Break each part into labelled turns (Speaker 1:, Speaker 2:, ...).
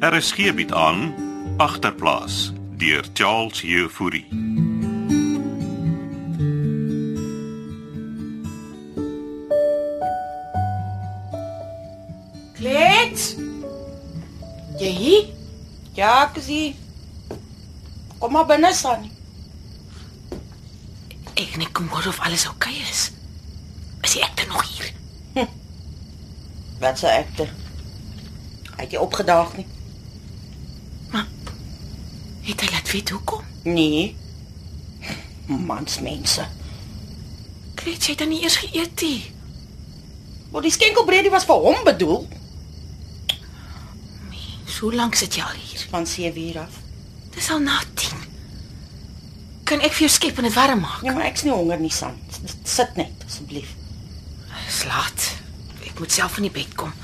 Speaker 1: Er is geebiet aan agterplaas deur Charles Jefouri.
Speaker 2: Kleed?
Speaker 3: Jy hier?
Speaker 2: Ja, ek is hier. Kom maar binne staan.
Speaker 3: Ek net kom hoor of alles oukei okay is. Is die ekter nog hier?
Speaker 2: Wat se ekte? Het jy opgedaag nie?
Speaker 3: Het hy laat weet hoekom?
Speaker 2: Nee. Mansmense.
Speaker 3: Kleet jy het dan nie eers geëet nie?
Speaker 2: Maar die skenkelbreedie was vir hom bedoel.
Speaker 3: Nee, So lank sit jy al hier.
Speaker 2: Van 7 uur af.
Speaker 3: Dis al na 10. Kan ek vir jou skep en dit warm maak?
Speaker 2: Nee, maar ek's nie honger nie, San. S- Sit net asseblief.
Speaker 3: Dis laat. Ek moet self in die bed kom.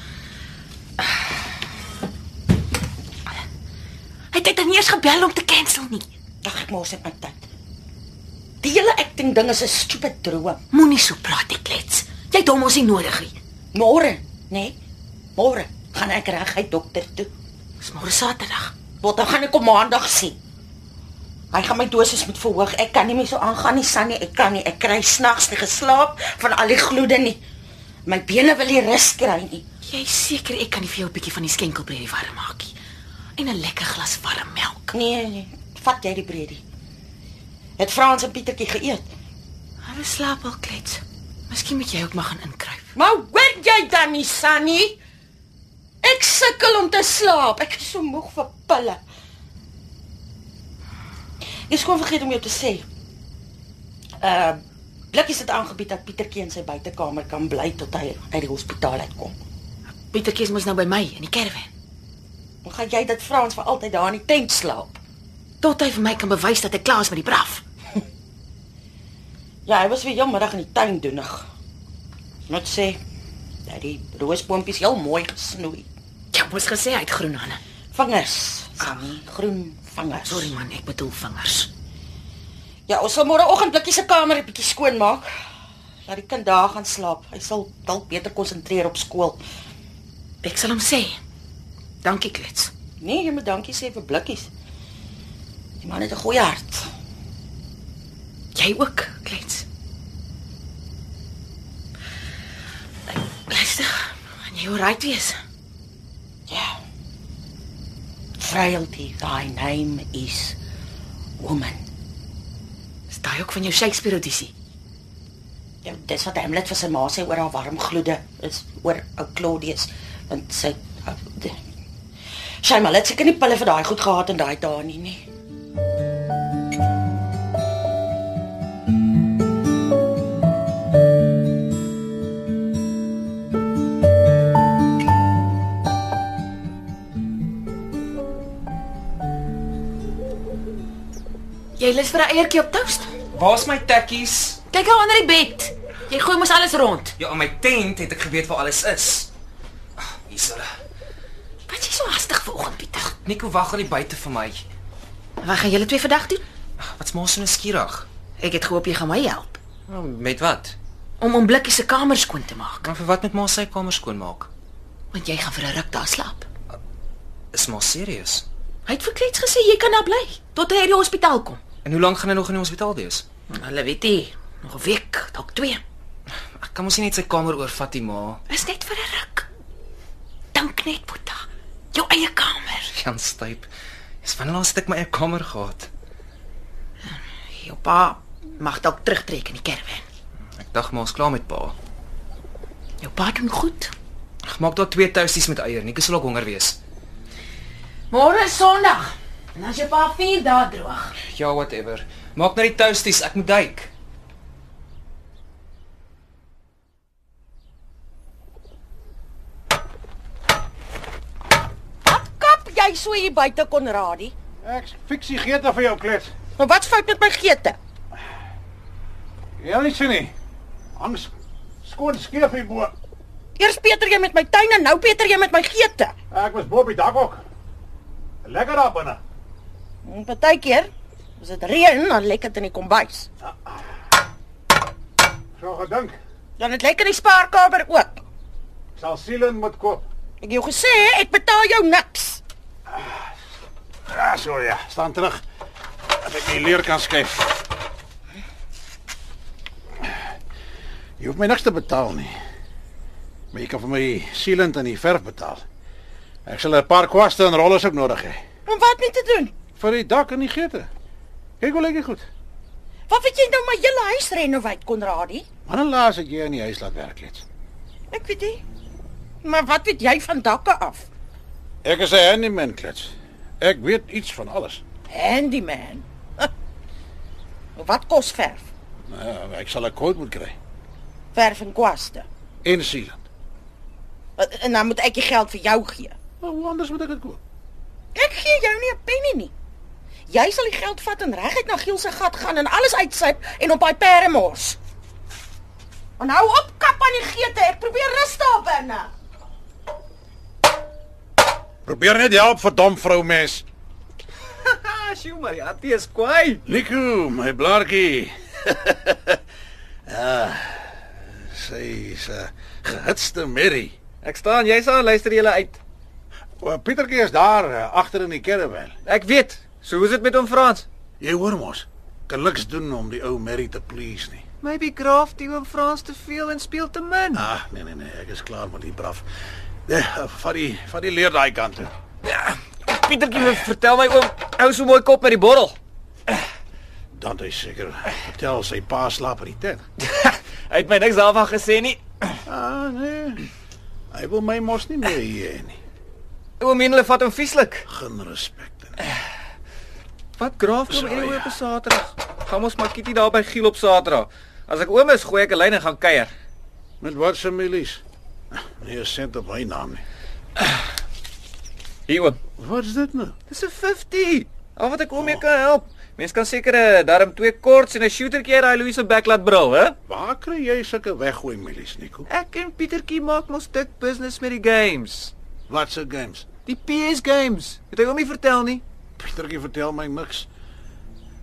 Speaker 3: Hy het ek dan nie eers gebel om te cancel nie.
Speaker 2: Dag ek mors net my tyd. Die hele acting ding is 'n stupid droom.
Speaker 3: Moenie so praat, ek klets. Jy het hom ons nie nodig nie.
Speaker 2: Môre, nê? Nee? Môre gaan ek reguit dokter toe.
Speaker 3: Dis môre Saterdag.
Speaker 2: Wat dan gaan ek op maandag sien. Hy gaan my dosis moet verhoog. Ek kan nie meer so aangaan nie, Sannie. Ek kan nie. Ek kry snags nie geslaap van al die gloede nie. My bene wil nie rus kry nie.
Speaker 3: Jy is seker ek kan nie vir jou 'n bietjie van die skenkelbreedie warm maak nie. En 'n lekker glas warm melk.
Speaker 2: Nee, nee. Vat jy die breedie? Het Frans en Pietertjie geëet?
Speaker 3: Hulle slaap al klets. Miskien moet jy ook maar gaan inkruip.
Speaker 2: Maar hoor jy dan nie, Sannie? Ek sukkel om te slaap. Ek is so moeg vir pille. Ek skoon vergeet om jou te sê. Uh Blikkies het aangebied dat Pietertjie in sy buitekamer kan bly tot hy uit die hospitaal uitkom.
Speaker 3: Pietertjie is mos nou by my in die kerwin.
Speaker 2: Dan gaan jy dit Frans vir altyd daar in die tent slaap.
Speaker 3: Tot hy vir my kan bewys dat ek klaar is met die braaf.
Speaker 2: Ja, hy was weer heelmiddag in die tuin doenig. Net sê dat die roosboontjies heel mooi gesnoei.
Speaker 3: Jy moes gesê hy het groen hande.
Speaker 2: Vingers, Sannie, groen vingers.
Speaker 3: Sorry man, ek bedoel vingers.
Speaker 2: Ja, ons sal môreoggend blikkie se kamer 'n bietjie skoon maak. Laat die kind daar gaan slaap. Hy sal dalk beter konsentreer op skool.
Speaker 3: Ek sal hom sê. Dankie klets.
Speaker 2: Nee, jy moet dankie sê vir blikkies. Die man het 'n goeie hart.
Speaker 3: Jy ook klets. Luister, gaan jy alright wees?
Speaker 2: Ja. Frailty, thy name is woman.
Speaker 3: Is daai ook van jou Shakespeare audisie?
Speaker 2: Ja, dis wat Hamlet vir sy ma sê oor haar warm gloede, is oor ou Claudius, want sy ah, Sy maar let seker nie pille vir daai goed gehad in daai dae nie, nee. nie.
Speaker 3: Jy lus vir 'n eiertjie op toast?
Speaker 4: Waar's my tekkies?
Speaker 3: Kyk daar onder die bed. Jy gooi mos alles rond.
Speaker 4: Ja, in my tent het ek geweet waar alles is. Ag, Hier's hulle.
Speaker 3: Wat is jy so hastig vanoggend, Pieter?
Speaker 4: Nico wag al die buite vir my.
Speaker 3: Wat gaan julle twee vandag doen?
Speaker 4: Ag, Wat's maar so nuuskierig?
Speaker 3: Ek het gehoop jy gaan my help
Speaker 4: Nou, Met wat?
Speaker 3: om om Blikkie se kamer skoon te maak,
Speaker 4: Kan vir wat met ma sy kamer skoonmaak?
Speaker 3: want jy gaan vir 'n ruk daar slaap.
Speaker 4: Is maar serieus.
Speaker 3: Hy het vir Klets gesê jy kan daar bly tot hy uit die hospitaal kom.
Speaker 4: En hoe lank gaan hy nog in die hospitaal wees?
Speaker 3: Hulle weet nie, nog 'n week, dalk 2.
Speaker 4: Ek kan mos nie net sy kamer oorvat nie, ma.
Speaker 3: Is net vir 'n ruk. Dink net, Boeta. Jou eie kamer.
Speaker 4: Jan styp. Dis wanneer laas het ek my eie kamer gehad?
Speaker 3: Jou pa mag dalk terugtrek in die kerwin.
Speaker 4: Ek dink ma's klaar met pa.
Speaker 3: Jou pa doen goed.
Speaker 4: Ek maak daar twee toasties met eier. Nico sal ook honger wees.
Speaker 3: Môre is Sondag. En as jou pa 4 dae droog.
Speaker 4: Ja, whatever. Maak nou die toasties, ek moet duik.
Speaker 2: Kap jy so hier buite Konradie?
Speaker 5: Ek fiks die geete vir jou klets.
Speaker 2: Maar wat's fout met my geete?
Speaker 5: Ja, nie sien nie. Hang sk- skoon skeef hier bo.
Speaker 2: Eers Peter jy met my tuin en nou Peter jy met my geete.
Speaker 5: Ek was bo op die dak ook. Lekker daar binne.
Speaker 2: En Mm, Partykeer as dit reën, dan lek dit in die kombuis.
Speaker 5: So gedink.
Speaker 2: Dan het lek in die spaarkamer ook.
Speaker 5: Ek Sal Sielen moet koop.
Speaker 2: Ek het jou gesê ek betaal jou niks.
Speaker 5: Ah, zo ja. Staan terug. Dat ik die leer kan schrijven. Je hoeft mij niks te betalen nie. Maar je kan voor mij sealant en die verf betalen. Ik zal een paar kwasten en rollers ook nodig hê.
Speaker 2: Om wat mee te doen?
Speaker 5: Voor die dak en die gitter. Kijk wel lekker goed.
Speaker 2: Wat weet jy nou my hele huis renoveer, Konradie?
Speaker 5: Wanneer laas het jy in die huis laat werk het?
Speaker 2: Ek weet nie. Maar wat weet jy van dakke af?
Speaker 5: Ek is 'n handyman klets. Ek weet iets van alles.
Speaker 2: Handyman. wat kos verf?
Speaker 5: Nou, ek sal 'n quote moet kry.
Speaker 2: Verf en kwaste.
Speaker 5: En sealant.
Speaker 2: En dan moet ek die geld vir jou gee.
Speaker 5: Maar Nou, hoe anders moet ek dit koop?
Speaker 2: Ek gee jou nie 'n pennie nie. Jy sal die geld vat en reguit na Giel se gat gaan en alles uitsyp en op daai pere mors. En hou op kap aan die geete. Ek probeer rus daar binne.
Speaker 5: Probeer net help verdom vrou mens.
Speaker 4: Haha, sjoe maar, ja, dit is kwaai.
Speaker 5: Nico, my blaartjie. ah, sy is 'n gehitste merrie.
Speaker 4: Ek staan, jy staan, luister julle uit.
Speaker 5: O, Pietertjie is daar eh, agter in die caravan.
Speaker 4: Ek weet. So hoe is dit met hom Frans?
Speaker 5: Jy hoor mos. Kan niks doen om die ou merrie te please nie.
Speaker 4: Maybe Graaf die oom Frans te veel en speel te min.
Speaker 5: Ah, nee nee nee, ek is klaar met die braaf. Eh, Van die van die leer daai kant toe.
Speaker 4: Ja, Pietertjie, vertel my oom, hou so mooi kop met die borrel.
Speaker 5: Dan is seker vertel sy pa slaap in die tent.
Speaker 4: Hy het my niks daarvan gesê nie.
Speaker 5: Ah nee. Hy wil my mos nie meer hier hê nie.
Speaker 4: Oom Mien hulle vat hom vieslik.
Speaker 5: Geen respek nie.
Speaker 4: Wat Graaf kom
Speaker 5: Zo,
Speaker 4: en
Speaker 5: ja.
Speaker 4: oom op 'n Saterdag? Gaan ons maar kitty daar by Giel op Saterdag. As ek oom is, gooi ek 'n lyn en gaan kuier.
Speaker 5: Met wat se milies? Nee, is sent op my naam nie.
Speaker 4: Hier oom.
Speaker 5: Wat is dit nou?
Speaker 4: Dis 'n 50. Al wat ek oom mee kan help. Mens kan seker 'n darm twee korts en 'n shootertjie uit daai Louis se bek laat brul, hè?
Speaker 5: Waar kry jy sulke weggooi milies, Nico?
Speaker 4: Ek en Pietertjie maak mos dik business met die games.
Speaker 5: Wat se games?
Speaker 4: Die PS games. Het ek hom nie vertel nie.
Speaker 5: Pietertjie vertel my niks.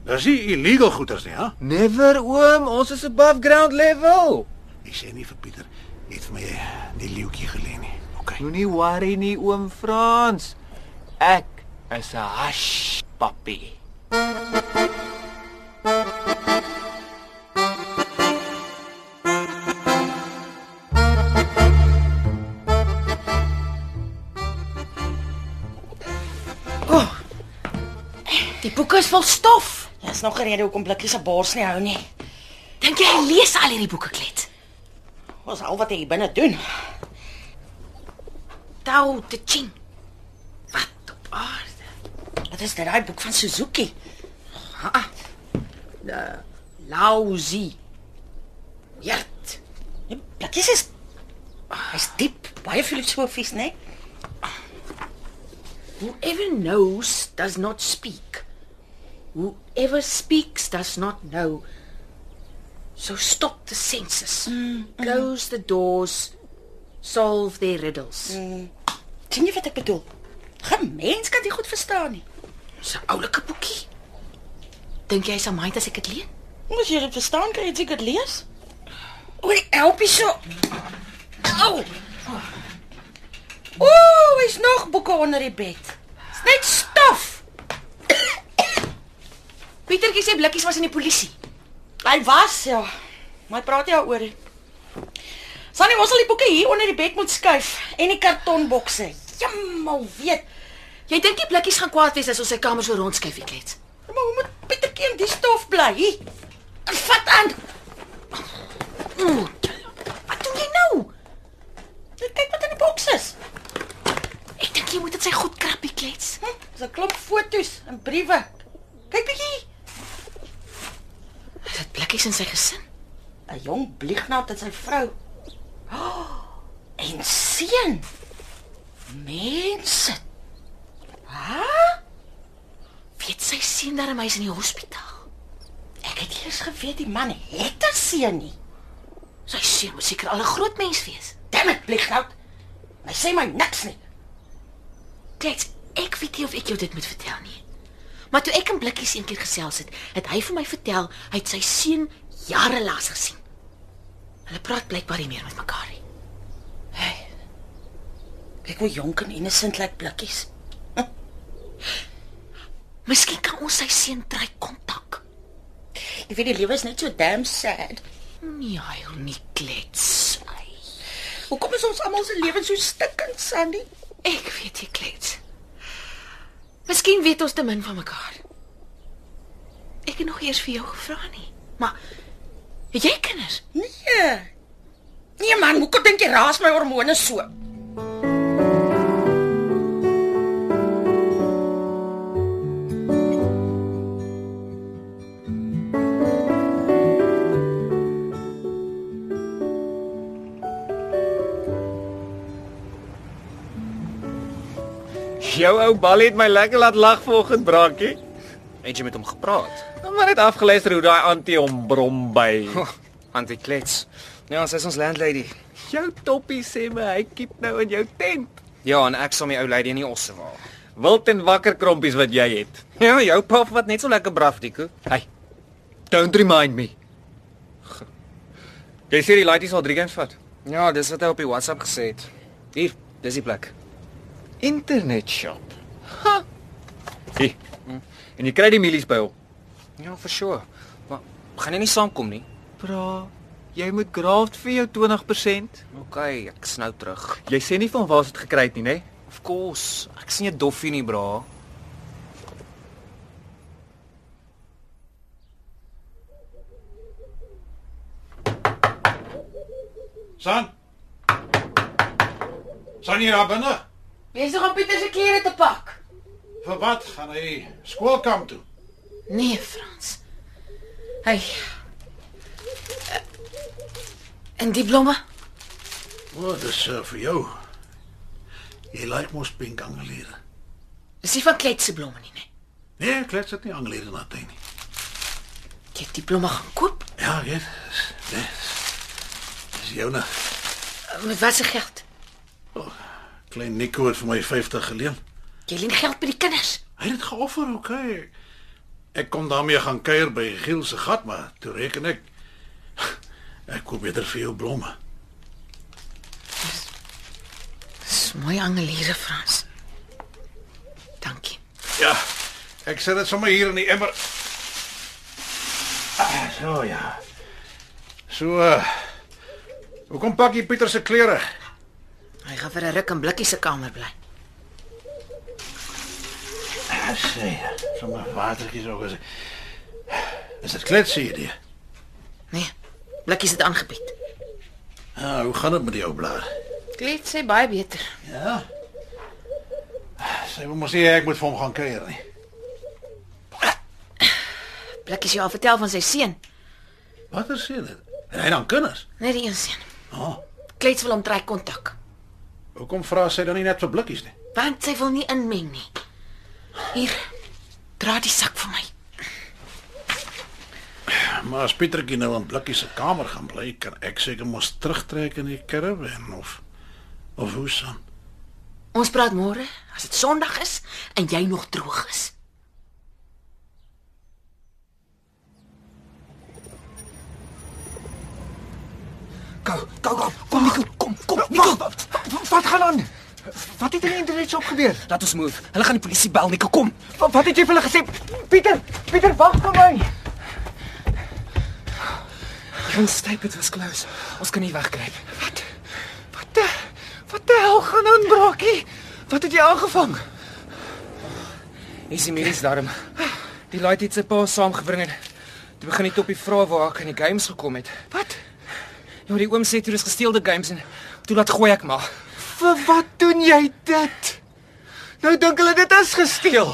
Speaker 5: Dis nie illegal goeders nie, hè?
Speaker 4: Never oom, ons is above ground level.
Speaker 5: Ek sê nie vir Pieter, jy het vir my eh, die leeuetjie geleen nie. OK.
Speaker 4: Moenie worry nie oom Frans. Ek is 'n hash papi.
Speaker 3: Die boeke is vol stof.
Speaker 2: Dis nog 'n rede hoekom blikkie se bors nie hou nie.
Speaker 3: Dink jy hy lees al hierdie boeke klet?
Speaker 2: Ons al wat hy hier binne doen.
Speaker 3: Tao Te Ching. Wat op aarde?
Speaker 2: Wat is dit daai boek van Suzuki?
Speaker 3: Lousy. Jert.
Speaker 2: Die Blikkies Nee, is hy's diep, baie filosofies, né?
Speaker 3: Whoever knows does not speak. Whoever speaks does not know. So stop the senses. Close the doors. Solve their riddles.
Speaker 2: sien jy wat ek bedoel? Geen mens kan dit goed verstaan nie.
Speaker 3: Dis 'n oulike boekie. Dink jy sal mind as ek dit leen?
Speaker 2: Moes jy dit verstaan kan jy dit seker lees? Oei, help hier so. Au. Ooh, is nog boeke onder die bed. Dis net stof.
Speaker 3: Pietertjie sê blikkies was in die polisie.
Speaker 2: Hy was ja. Maar hy praat jy daaroor? Sannie, ons sal die boeke hier onder die bed moet skuif en die kartonbokse. Jammal weet.
Speaker 3: Jy dink die blikkies gaan kwaad wees as ons sy kamer so rondskuif ek let.
Speaker 2: Maar hoe moet Pietertjie in die stof bly? Hier. Vat aan.
Speaker 3: Ooh, wat doen jy nou?
Speaker 2: Kyk wat in die boks is.
Speaker 3: Ek dink jy moet dit sy goed krappie klets.
Speaker 2: Hm, Dis 'n klomp fotos en briewe. Kyk bietjie.
Speaker 3: Is dit blikkies in sy gesin?
Speaker 2: 'n jong bliegnaat en sy vrou. Oh, en seun. Mense.
Speaker 3: Weet sy sien dat hy is in die hospitaal?
Speaker 2: Ek het eers geweet die man het 'n seun nie.
Speaker 3: Sy seun moet seker al 'n groot mens wees.
Speaker 2: Damn it, bliegnaat. Hy sê my niks nie.
Speaker 3: Klets, ek weet nie of ek jou dit moet vertel nie. Maar toe ek in blikkies eendag gesels het, het hy vir my vertel hy het sy seun jare lank gesien. Hulle praat blykbaar nie meer met mekaar nie.
Speaker 2: Kyk hoe jonk en innocent lyk blikkies. Hm,
Speaker 3: Miskien kan ons sy seun try kontak.
Speaker 2: Ek weet die lewe is net so damn sad.
Speaker 3: Nee, hy hoor nie klets. Ai.
Speaker 2: Hoekom is ons almal se lewens so stikkend, Sandy?
Speaker 3: Ek weet jy klets. Miskien weet ons te min van mekaar. Ek het nog eers vir jou gevra nie, maar het jy kinders?
Speaker 2: Nee. Nee man, hoekom dink jy raas my hormone so?
Speaker 4: Jou ou bal het my lekker laat lag vanoggend, Brankie.
Speaker 6: Het jy met hom gepraat?
Speaker 4: Nou maar net afgeluister hoe daai antie hom brom by.
Speaker 6: Antie Klets. Nee, ons is ons landlady.
Speaker 4: jou toppie sê my hy kiep nou in jou tent.
Speaker 6: Ja, en ek saam die ou lady in die osse waar.
Speaker 4: Wild en wakker krompies wat jy het.
Speaker 6: Ja, jou pap wat net so lekker braaf diekoe.
Speaker 4: Hey. Don't remind me. Jy sê die laities al 3 games vat.
Speaker 6: Ja, dis wat hy op die WhatsApp gesê het. Hier, dis die plek.
Speaker 4: Internet shop. Ha. Hey. En jy kry die mielies by hom.
Speaker 6: Ja, for sure. Maar gaan jy nie saamkom nie?
Speaker 4: Bra, jy moet graft vir jou 20%.
Speaker 6: OK, ek snou terug.
Speaker 4: Jy sê nie van waar dit gekry het nie, né?
Speaker 6: Of course. Ek sien jou doffie nie, bra.
Speaker 5: San. San hier daar binne.
Speaker 3: Jy's nog om Pieter se klere te pak.
Speaker 5: Vir wat gaan hy skoolkamp toe?
Speaker 3: Nee, Frans. Hy Eh, En die blomme?
Speaker 5: O, dis uh, vir jou. Jy lyk mos pink angelere.
Speaker 3: Dis nie van klets se blomme nie, nee.
Speaker 5: Nee, klets dit nie angelere na teen nie.
Speaker 3: Jy het die blomme gaan koop
Speaker 5: Ja, dit is dis. Dis jou nou.
Speaker 3: Eh, met watter geld?
Speaker 5: Klein Nico het vir my 50 geleen.
Speaker 3: Jy leen geld by die kinders.
Speaker 5: Hy het dit geoffer, okay. Ek kon daarmee gaan kuier by Giel se gat, maar toe reken ek ek koop beter vir jou blomme.
Speaker 3: Dis mooi angeliere, Frans. Dankie.
Speaker 5: Ja. Ek sit dit sommer hier in die emmer. Ah, so ja. So uh, Hoekom pak jy Pieter se klere?
Speaker 3: Hy gaan vir 'n ruk in Blikkie se kamer bly.
Speaker 5: Ah, sê, sommer watertjies ook as. Is dit klets hier die?
Speaker 3: Nee. Blikkie se dit aangebied.
Speaker 5: Ja, Ah, hoe gaan dit met die ou blaar?
Speaker 3: Klets sê baie beter.
Speaker 5: Ja. Sy wil mos sê ek moet vir hom gaan kuier nie.
Speaker 3: Blikkie sê al vertel van sy seun,
Speaker 5: Watter sê dit? En hy dan kinders.
Speaker 3: net Nee, die een seun.
Speaker 5: Ja.
Speaker 3: Oh. Klets wil hom trek kontak,
Speaker 5: Hoekom vra sy dan nie net vir blikkies nie?
Speaker 3: want sy wil nie inmeng nie. Hier. Dra die sak vir my.
Speaker 5: Maar as Pietertjie nou in blikkies se kamer gaan bly, kan ek seker mos terugtrek in die kerwe en of of hoe son.
Speaker 3: Ons praat môre, as dit Sondag is en jy nog droog is.
Speaker 6: Go, go, go. Kom, Nico, kom, kom, Nico.
Speaker 4: Wat gaan aan? Wat het in die internet shop gebeur?
Speaker 6: Laat ons move. Hulle gaan die polisie bel, Nico. Kom.
Speaker 4: Wat, wat het jy vir hulle gesê? Pieter, Pieter, wag vir my.
Speaker 6: Geen styp, dit was close. Ons kan nie wegkruip.
Speaker 4: Wat? Wat die, wat die hel gaan aan, Brokkie? Wat het jy aangevang?
Speaker 6: Hier is die milies daarom. Die laait het sy pa saamgebring het. Toe begin die toppie vra waar ek in die games gekom het.
Speaker 4: Wat?
Speaker 6: Ja, die oom sê toe dis gesteelde games en toe laat gooi ek maar.
Speaker 4: Vir wat doen jy dit? Nou dink hulle dit is gesteel.